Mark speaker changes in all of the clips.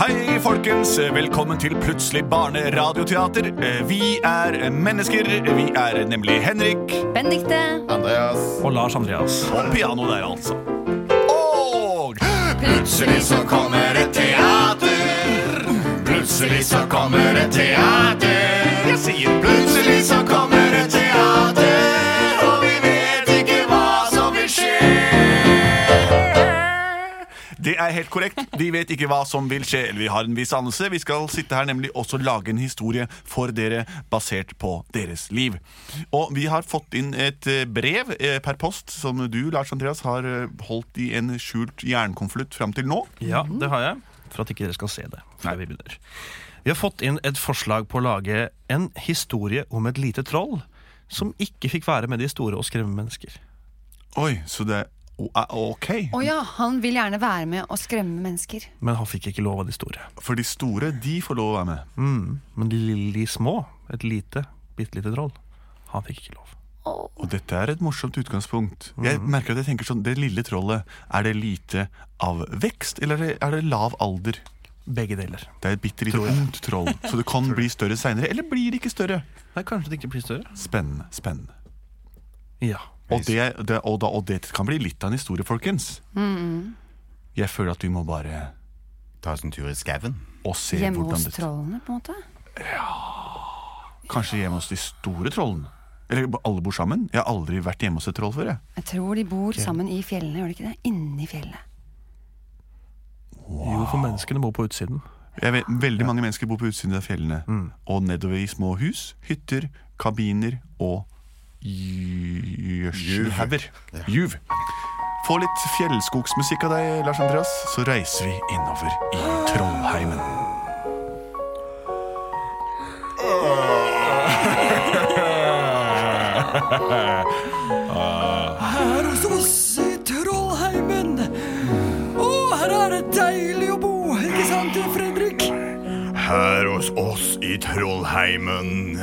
Speaker 1: Hei, folkens. Velkommen til Plutselig barneradioteater. Eh, Vi er mennesker. Vi er nemlig Henrik.
Speaker 2: Benedikte.
Speaker 3: Andreas.
Speaker 4: Og Lars Andreas.
Speaker 1: Og piano der, altså. Og plutselig så kommer et teater. Plutselig så kommer et teater. Jeg sier plutselig så kommer et teater. Og vi vet ikke hva som vil skje. Det er helt korrekt. Vi vet ikke hva som vil skje. Eller vi har en viss anelse. Vi skal sitte her nemlig også lage en historie for dere basert på deres liv. Og vi har fått inn et eh, brev eh, per post som du, Lars Andreas, har eh, holdt i en skjult jernkonvolutt fram til nå.
Speaker 4: Ja, det har jeg. For at ikke dere skal se det. Mhm. Nei, vi begynner. Vi har fått inn et forslag på å lage en historie om et lite troll som ikke fikk være med de store og skremme mennesker.
Speaker 1: Oi, så det er o- er OK.
Speaker 2: Å ja, han vil gjerne være med og skremme mennesker.
Speaker 4: Men han fikk ikke lov av de store.
Speaker 1: For de store, de får lov å være med.
Speaker 4: Mm. Men de lille de små, et lite, bitte lite troll, han fikk ikke lov.
Speaker 1: Og dette er et morsomt utgangspunkt. Jeg merker at jeg tenker sånn, Det lille trollet, er det lite av vekst, eller er det- er det lav alder?
Speaker 4: Begge deler.
Speaker 1: Det er et bitte lite ungt troll, så det kan bli større seinere. Eller blir det ikke større?
Speaker 4: Nei, kanskje det ikke blir større?
Speaker 1: Spennende. spennende
Speaker 4: Ja.
Speaker 1: Og det, det, og, da, og det kan bli litt av en historie, folkens. Jeg føler at vi må bare
Speaker 3: Ta oss en tur i skauen.
Speaker 1: og se
Speaker 2: Hjemme
Speaker 1: hvordan
Speaker 2: hos
Speaker 1: det
Speaker 2: trollene, på en måte.
Speaker 1: Kanskje hjemme hos de store trollene? Eller alle bor sammen? Jeg har aldri vært hjemme hos et troll før. jeg
Speaker 2: Jeg tror de bor sammen i fjellene, gjør de ikke det? Inni fjellet.
Speaker 4: Jo, for menneskene bor på utsiden.
Speaker 1: Jeg vet, veldig mange mennesker bor på utsiden av fjellene. Og nedover i små hus, hytter, kabiner og gj- gjødselhauger. Juv. Få litt fjellskogsmusikk av deg, Lars Andreas, så reiser vi innover i Trollheimen.
Speaker 5: Her hos oss i Trollheimen. Å, her er det deilig å bo, ikke sant, Fredrik?
Speaker 3: Her hos oss i Trollheimen.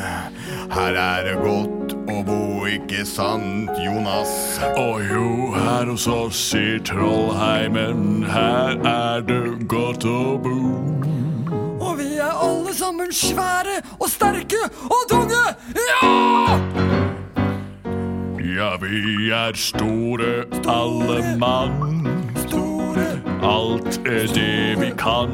Speaker 3: Her er det godt å bo, ikke sant, Jonas?
Speaker 6: Og jo, her hos oss i Trollheimen, her er det godt å bo.
Speaker 5: Og vi er alle sammen svære og sterke og tunge. Ja!
Speaker 6: Ja, vi er store, alle mann.
Speaker 5: Store,
Speaker 6: Alt er det vi kan,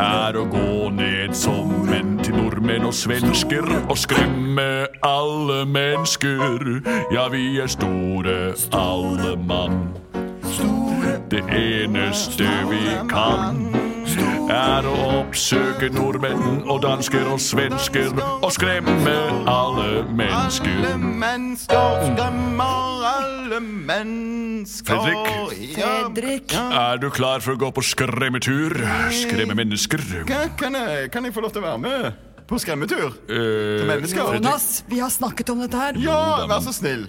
Speaker 6: er å gå ned som menn til nordmenn og svensker og skremme alle mennesker. Ja, vi er store, alle mann.
Speaker 5: store,
Speaker 6: Det eneste vi kan er å oppsøke nordmenn og dansker og svensker og skremme alle mennesker.
Speaker 3: mennesker skremmer alle mennesker.
Speaker 1: Fredrik?
Speaker 5: Fredrik.
Speaker 6: Er du klar for å gå på skremmetur? Skremme mennesker?
Speaker 3: Kan jeg, kan jeg få lov til å være med på skremmetur?
Speaker 6: Eh,
Speaker 3: mennesker?
Speaker 5: Jonas, vi har snakket om dette her.
Speaker 3: Ja, vær så snill.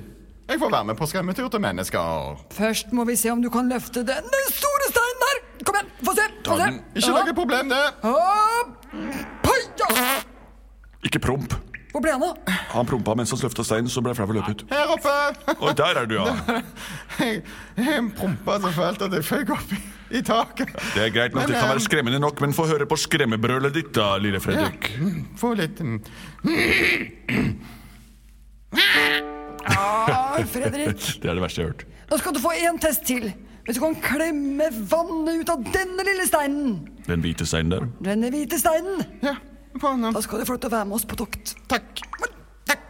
Speaker 3: Jeg får være med på skremmetur til mennesker.
Speaker 5: Først må vi se om du kan løfte den store steinen der. Kom igjen, få se. Få se.
Speaker 3: Ikke
Speaker 5: Ja.
Speaker 3: noe problem, det.
Speaker 5: Opp. Pai, ja.
Speaker 6: ikke promp.
Speaker 5: Hvor ble han av?
Speaker 6: Han prompa mens han løfta steinen, så ble jeg flau og løp ut.
Speaker 3: Her oppe.
Speaker 6: Oi, der er du, ja.
Speaker 3: Jeg, jeg prompa så fælt at jeg føk opp i, i taket. eh,
Speaker 6: Det er greit nok, det kan være skremmende nok, men få høre på skremmebrølet ditt, da, lille Fredrik.
Speaker 3: Få litt mm,
Speaker 5: Ah, Fredrik.
Speaker 6: Det er det verste jeg har hørt.
Speaker 5: Nå skal du få en test til. Hvis du kan klemme vannet ut av denne lille steinen,
Speaker 6: Den hvite steinen der.
Speaker 5: denne hvite steinen,
Speaker 3: Ja, få den opp.
Speaker 5: da skal du få lov til å være med oss på tokt.
Speaker 3: Takk. Takk.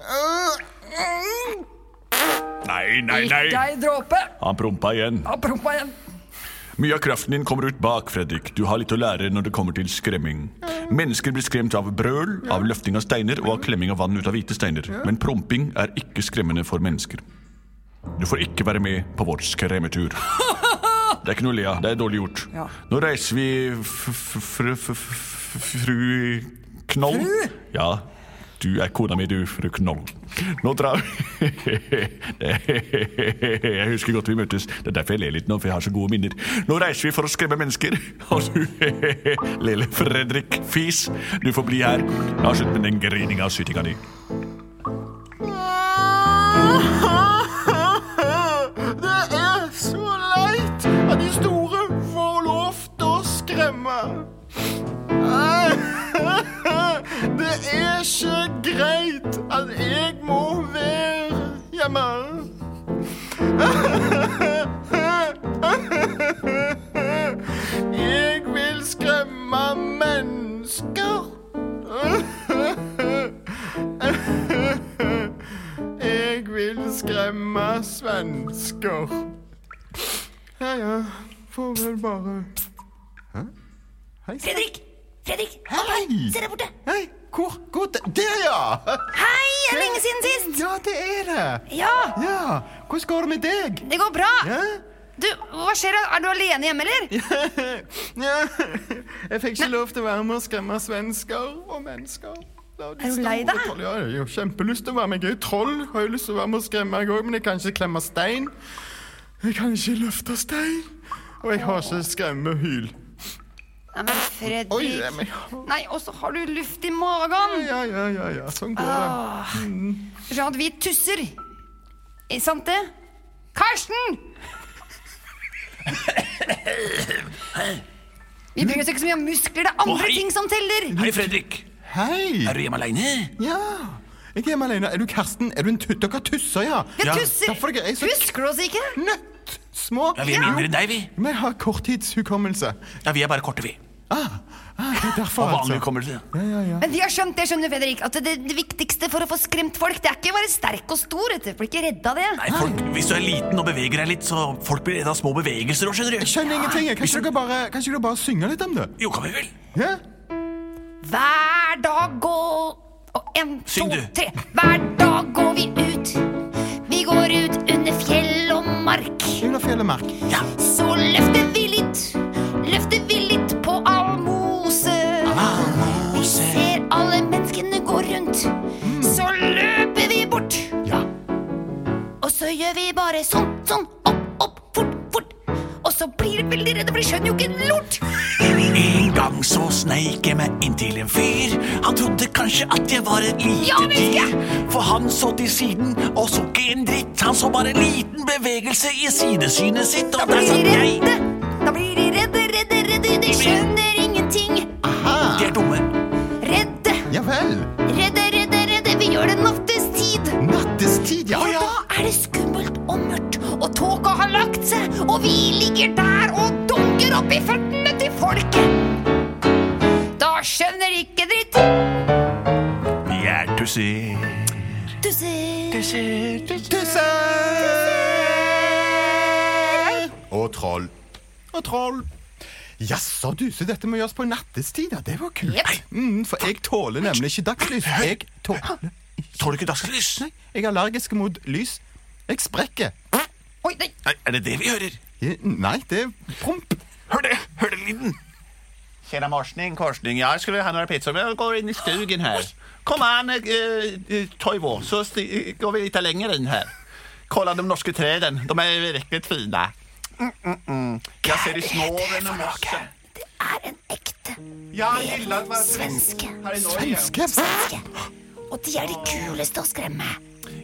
Speaker 3: Øh, mm.
Speaker 6: Nei, nei,
Speaker 5: Ikke
Speaker 6: nei!
Speaker 5: ei dråpe.
Speaker 6: Han prompa igjen.
Speaker 5: Ja, prompa igjen.
Speaker 6: Mye av kraften din kommer ut bak, Fredrik. Du har litt å lære når det kommer til skremming. Mennesker blir skremt av brøl, av løfting av steiner og av klemming av vann ut av hvite steiner. Men promping er ikke skremmende for mennesker. Du får ikke være med på vår skremmetur. Det er ikke noe å le av. Det er dårlig gjort.
Speaker 5: Ja.
Speaker 6: Nå reiser vi f- f- fr... f- f- fru Knoll.
Speaker 5: Fru?
Speaker 6: Ja. Du er kona mi, du, fru Knoll. Nå drar vi Jeg husker godt vi møttes. Det er derfor jeg ler litt nå, for jeg har så gode minner. Nå reiser vi for å skremme mennesker. Og du, lille Fredrik Fis, du får bli her. Ja, slutt med den grininga og sytinga di.
Speaker 3: Det er så leit at de store får lov til å skremme hjemme. Det er ikke greit at jeg må være hjemme. Jeg vil skremme mennesker. Jeg vil skremme svensker. Ja, ja. Får vel bare
Speaker 7: Fredrik! Fredrik, opp her! Se der borte!
Speaker 3: Hei, hvor? hvor der, der, ja!
Speaker 7: Hei! Det er lenge siden sist!
Speaker 3: Ja, det er det.
Speaker 7: Ja,
Speaker 3: Ja, Hvordan går det med deg?
Speaker 7: det går bra!
Speaker 3: Ja?
Speaker 7: Du, hva skjer? Er du alene hjemme, eller?
Speaker 3: ja. Jeg fikk ikke lov til å være med og skremme svensker og mennesker. Er
Speaker 7: Er du lei deg?
Speaker 3: Ja, jeg har jo kjempelyst til å være med. Jeg er jo troll. Jeg har jo lyst til å være med og skremme, jeg òg, men jeg kan ikke klemme stein. Jeg kan ikke løfte stein. Og jeg har ikke skremmehyl.
Speaker 2: Nei, men Fredrik
Speaker 3: Oi, men
Speaker 2: Nei, og så har du luft i magen!
Speaker 3: Ja, ja, ja, ja. Sånn går det.
Speaker 7: Ah.
Speaker 2: Skjønner at vi tusser. Eh, Sant det? Karsten! Vi bryr oss ikke så mye om muskler. Det er
Speaker 1: Å,
Speaker 2: andre
Speaker 1: hei.
Speaker 2: ting som teller.
Speaker 1: Hei, Fredrik.
Speaker 3: Hei!
Speaker 1: Er du hjemme aleine?
Speaker 3: Ja! Jeg er hjemme alene. Er du Karsten? Er du en tutt? Dere tusser, ja.
Speaker 2: Vi tusser.
Speaker 3: Derfor er jeg så
Speaker 2: Husker du oss ikke?
Speaker 3: knøtt små.
Speaker 1: Ja, vi er mindre enn deg, vi.
Speaker 3: Vi har korttidshukommelse.
Speaker 1: Ja, Vi er bare korte, vi.
Speaker 3: Ah, ah, det er derfor,
Speaker 1: Og vanlig
Speaker 3: altså.
Speaker 1: hukommelse.
Speaker 3: Ja, ja, ja.
Speaker 2: Men vi har skjønt det, skjønner du, Fredrik, at det, det viktigste for å få skremt folk, det er ikke å være sterk og stor. vet du. Blir ikke redd av det.
Speaker 1: Nei, folk, Hvis du er liten og beveger deg litt, så folk blir redde av små bevegelser òg, skjønner
Speaker 3: Jeg
Speaker 1: du.
Speaker 3: skjønner ingenting. jeg. Kan ikke dere bare, kan ikke dere bare synge litt om det?
Speaker 1: Jo, kan vi vel?
Speaker 3: Ja?
Speaker 2: Hver dag går Og en, to,
Speaker 1: Syng du.
Speaker 2: tre. Hver dag går vi ut. Vi går ut under fjell og mark.
Speaker 3: Under fjell og mark.
Speaker 2: Så løfter vi litt, løfter vi litt på almose. Vi ser alle menneskene gå rundt, så løper vi bort.
Speaker 3: Ja.
Speaker 2: Og så gjør vi bare sånn, sånn, opp, opp, fort, fort. Og så blir de veldig redde, for de skjønner jo ikke en lort.
Speaker 1: En gang så sneik jeg meg inn til en fyr. Han trodde kanskje at jeg var et lite dyr. For han så til siden og så ikke en dritt. Han så bare en liten bevegelse i sidesynet sitt,
Speaker 2: Da
Speaker 1: og der
Speaker 2: blir de
Speaker 1: satt jeg.
Speaker 2: redde, da blir de redde, redde, redde. De skjønner ingenting.
Speaker 1: De er dumme.
Speaker 2: Redde,
Speaker 3: Ja vel.
Speaker 2: redde, redde, redde. Vi gjør det nattes tid.
Speaker 3: Nattestid, ja.
Speaker 2: For da er det skummelt og mørkt, og tåka har lagt seg, og vi ligger der og dunker opp i føttene til folket. Da skjønner ikke dritt.
Speaker 1: Vi er tusser.
Speaker 2: Du ser
Speaker 3: Tusser! Og troll. Og troll. Jaså, du, så dette må gjøres på nattestid, ja. Det var kult.
Speaker 2: Jepp.
Speaker 3: Mm, for jeg tåler nemlig ikke dagslys. Jeg tåler
Speaker 1: Tåler du ikke dagslys?
Speaker 3: Jeg er allergisk mot lys. Jeg sprekker.
Speaker 2: Oi, nei.
Speaker 1: Nei, er det det vi hører?
Speaker 3: Jeg- Nei, det er promp.
Speaker 1: Hør det! Hør det lyden! Tjena, morsning, korsning. Jeg skulle ha noen pizza, men jeg går inn i stugen her. Kom an, eh, Toivo, så sti- eh, går vi litt lenger inn her. Kolla de norske träden, de er virkelig fine. Mm, mm, mm. Jeg ser i snåren og morsen.
Speaker 2: er en ekte
Speaker 3: Jeg gillar att vara
Speaker 2: svenske.
Speaker 3: svenske.
Speaker 2: Og de er de kuleste å skremme.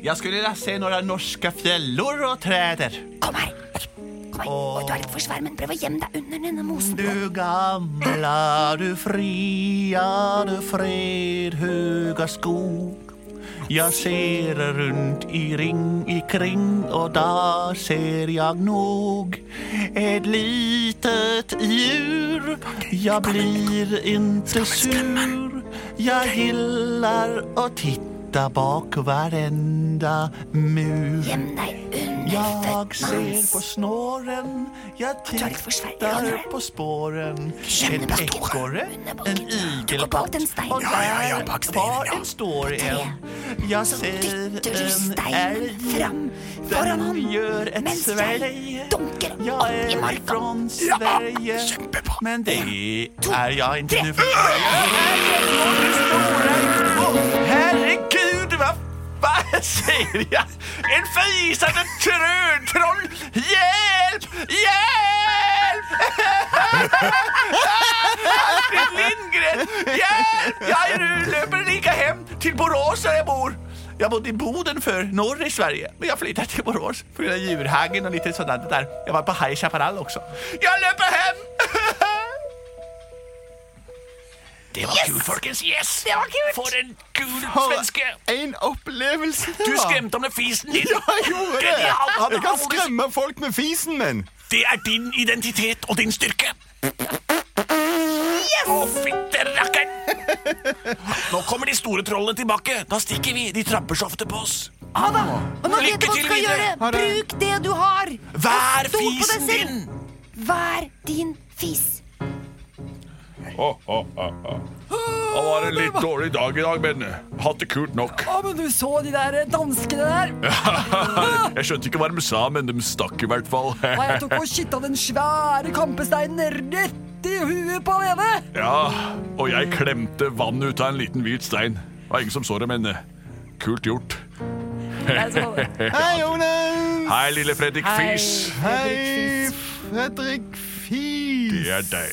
Speaker 1: Jeg skulle vilja se noen norske fjeller og träder.
Speaker 2: Kom her. Oi, Kom her. Oi, du er litt for svær, men prøv å gjemme deg under denne mosen.
Speaker 1: Du gamla, du fria, du fredhöga skog Jeg ser rundt i ring ikring og da ser jeg nog et litet djur. Jeg blir ikke sur. Jeg gillar å titta bak varenda mur.
Speaker 2: Gjem deg under
Speaker 1: Jag
Speaker 2: føttene
Speaker 1: ser på
Speaker 2: hans.
Speaker 1: snåren, jag
Speaker 2: tar litt for svært i hånden,
Speaker 1: tittar på spåren.
Speaker 2: Skjønner
Speaker 1: En
Speaker 2: bak i
Speaker 1: ekorre,
Speaker 2: hånden, under
Speaker 1: en
Speaker 2: baken. Du går bak
Speaker 1: igelkott,
Speaker 2: den steinen.
Speaker 1: og
Speaker 2: Ja, ja, ja,
Speaker 1: der
Speaker 2: bak steinen,
Speaker 1: var
Speaker 2: ja.
Speaker 1: en stor en. Jeg
Speaker 2: Så
Speaker 1: ser
Speaker 2: dytter du
Speaker 1: en
Speaker 2: steinen
Speaker 1: elg,
Speaker 2: fram foran
Speaker 1: den
Speaker 2: ham
Speaker 1: gjør et
Speaker 2: mens jeg
Speaker 1: svelg.
Speaker 2: dunker
Speaker 1: Jeg
Speaker 2: opp i
Speaker 1: er
Speaker 2: marka.
Speaker 1: fra Sverige, men det er jeg ikke
Speaker 2: tre.
Speaker 1: nu for. Herregud, hva hva ser jeg? En fisende trøtroll! Hjelp! Hjelp! Astrid Lindgren! Hjelp! Jeg løper like hjem til Borås, der jeg bor. Jeg bodde i Boden før, norr i Sverige. Men jeg flyttet til Borås på grunn av djurhagen og litt sånn der. Jeg var på High Chaparral også. Jeg løper hjem!
Speaker 6: Det var kult, folkens. Yes!
Speaker 7: Det var kult.
Speaker 6: For en kul
Speaker 3: For
Speaker 6: svenske!
Speaker 3: en opplevelse det
Speaker 6: Du
Speaker 3: var.
Speaker 6: skremte ham med fisen din.
Speaker 3: Ja, jeg gjorde det.
Speaker 6: Genialt.
Speaker 3: Jeg kan skremme folk med fisen min.
Speaker 6: Det er din identitet og din styrke. Å, fitte rakkeren! Nå kommer de store trollene tilbake. Da stikker vi. De tramper så ofte på oss.
Speaker 2: Ha det! Og nå
Speaker 6: Lykke
Speaker 2: vet du hva du
Speaker 6: til
Speaker 2: skal
Speaker 6: videre.
Speaker 2: gjøre.
Speaker 3: Ha det.
Speaker 2: Bruk det du har.
Speaker 6: Vær
Speaker 2: Stol på deg
Speaker 6: fisen
Speaker 2: selv.
Speaker 6: din!
Speaker 2: Vær din fis.
Speaker 6: Det var en litt dårlig dag i dag, men hatt det kult nok.
Speaker 5: Å, men du så de der eh, danskene der?
Speaker 6: Jeg skjønte ikke hva de sa, men de stakk i hvert fall.
Speaker 5: Nei, jeg tok og skytta den svære kampesteinen rett i huet på han ene.
Speaker 6: Ja, og jeg klemte vann ut av en liten hvit stein. Det var ingen som så det, men eh, kult gjort.
Speaker 5: Jeg så det.
Speaker 3: Hei, Jonas.
Speaker 6: Hei, lille Fredrik Fis.
Speaker 3: Hei, Fredrik Fis.
Speaker 6: Det er deg.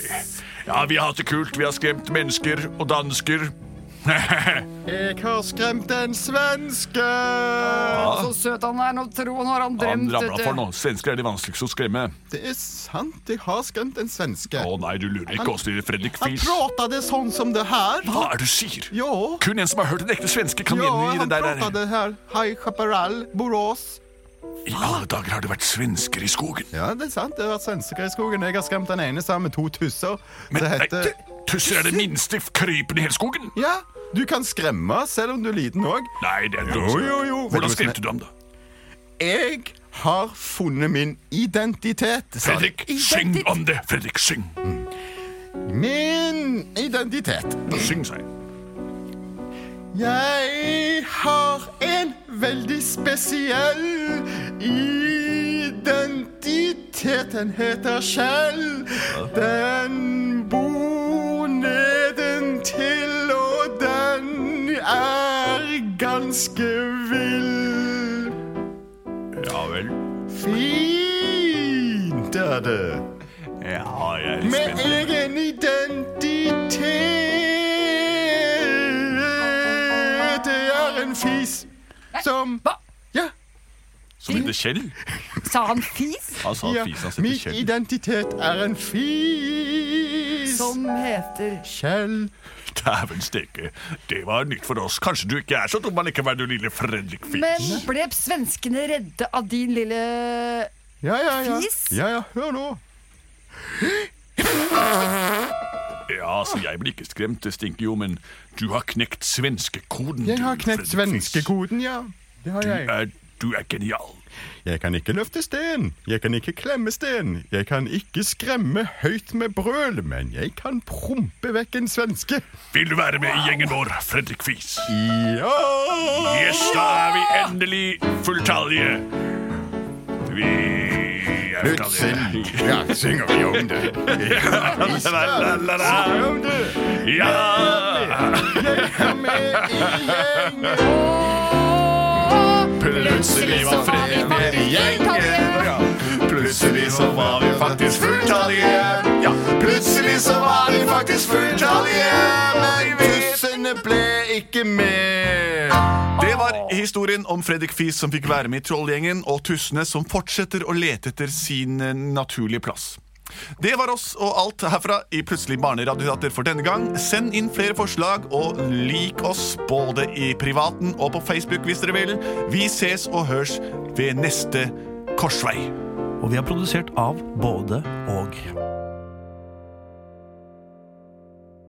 Speaker 6: Ja, vi har hatt det kult. Vi har skremt mennesker og dansker.
Speaker 3: Jeg har skremt en svenske.
Speaker 5: Så søt han er. Nå tror han har han
Speaker 6: Han
Speaker 5: drømt.
Speaker 6: ramla
Speaker 5: vet
Speaker 6: for
Speaker 5: du.
Speaker 6: nå. Svensker er de vanskeligste å skremme.
Speaker 3: Det er sant, jeg har skremt en svenske.
Speaker 6: Å nei, du lurer ikke oss, lille Fredrik
Speaker 3: Han
Speaker 6: Fis.
Speaker 3: pratet sånn som det her.
Speaker 6: Hva er det du sier?
Speaker 3: Ja.
Speaker 6: Kun en som har hørt en ekte svenske, kan
Speaker 3: Ja,
Speaker 6: gjengi
Speaker 3: han
Speaker 6: den der. der.
Speaker 3: pratet her. Hei, Chaparral, Borås.
Speaker 6: I alle dager har det vært svensker i skogen.
Speaker 3: Ja, det er sant. Det har vært svensker i skogen. Jeg har skremt den ene sammen med to tusser.
Speaker 6: Men
Speaker 3: det
Speaker 6: nei,
Speaker 3: heter
Speaker 6: tu- tusser er det minste krypen i hele skogen.
Speaker 3: Ja, du kan skremme selv om du er liten òg.
Speaker 6: Nei, det er
Speaker 3: Jo, jo, jo. Vet du
Speaker 6: Hvordan
Speaker 3: hva som er-
Speaker 6: skremte du ham, da?
Speaker 3: Jeg har funnet min identitet, sa de.
Speaker 6: Fredrik, syng om det! Fredrik, syng.
Speaker 3: Min identitet.
Speaker 6: Syng, sa jeg.
Speaker 3: Jeg har en veldig spesiell identitet. Den heter Kjell. Den bor nedentil, og den er ganske vill.
Speaker 6: Ja vel.
Speaker 3: Fint er det.
Speaker 6: Ja, jeg er
Speaker 3: Med
Speaker 6: spent.
Speaker 3: egen identitet. Det er en fis som
Speaker 5: Hva?
Speaker 3: Ja,
Speaker 6: Som heter Kjell?
Speaker 5: eh, Sa han fis?
Speaker 6: Han sa
Speaker 3: ja.
Speaker 6: fisen sin
Speaker 3: Min
Speaker 6: heter Kjell.
Speaker 3: identitet er en fis.
Speaker 5: Som heter
Speaker 3: Kjell.
Speaker 6: Dæven steke, det var nytt for oss. Kanskje du ikke er så dum allikevel, du lille Fredrik Fis.
Speaker 5: Men ble svenskene redde av din lille
Speaker 3: Ja, ja, ja.
Speaker 5: Fis?
Speaker 3: Ja, ja, hør nå.
Speaker 6: Ja, så jeg blir ikke skremt, det stinker jo, men du har knekt svenske-koden.
Speaker 3: Jeg har
Speaker 6: du,
Speaker 3: knekt
Speaker 6: Fredrik Fis.
Speaker 3: svenskekoden, ja. Det har
Speaker 6: Du
Speaker 3: jeg.
Speaker 6: er, du er genial.
Speaker 3: Jeg kan ikke løfte sten, jeg kan ikke klemme sten, jeg kan ikke skremme høyt med brøl, men jeg kan prompe vekk en svenske.
Speaker 6: Vil du være med i gjengen vår, Fredrik Fis?
Speaker 3: Ja!
Speaker 6: Yes, da er vi endelig fulltallige. Vi er
Speaker 3: Plutselig
Speaker 6: fulltallige.
Speaker 3: ja, synger vi om det. Vi synger om det.
Speaker 6: Ja!
Speaker 3: Med i gjengen.
Speaker 6: Plutselig var Fredrik med i gjengen. Ja. Plutselig så var vi faktisk fulltallige. Ja.
Speaker 3: Plutselig så var de faktisk fulltallige, men tussene ble ikke med.
Speaker 1: Det var historien om Fredrik Fis som fikk være med i Trollgjengen, og tussene som fortsetter å lete etter sin eh, naturlige plass. Det var oss og alt herfra i Plutselig barneradioteater for denne gang. Send inn flere forslag, og lik oss både i privaten og på Facebook hvis dere vil. Vi ses og hørs ved neste korsvei.
Speaker 4: Og vi er produsert av både og.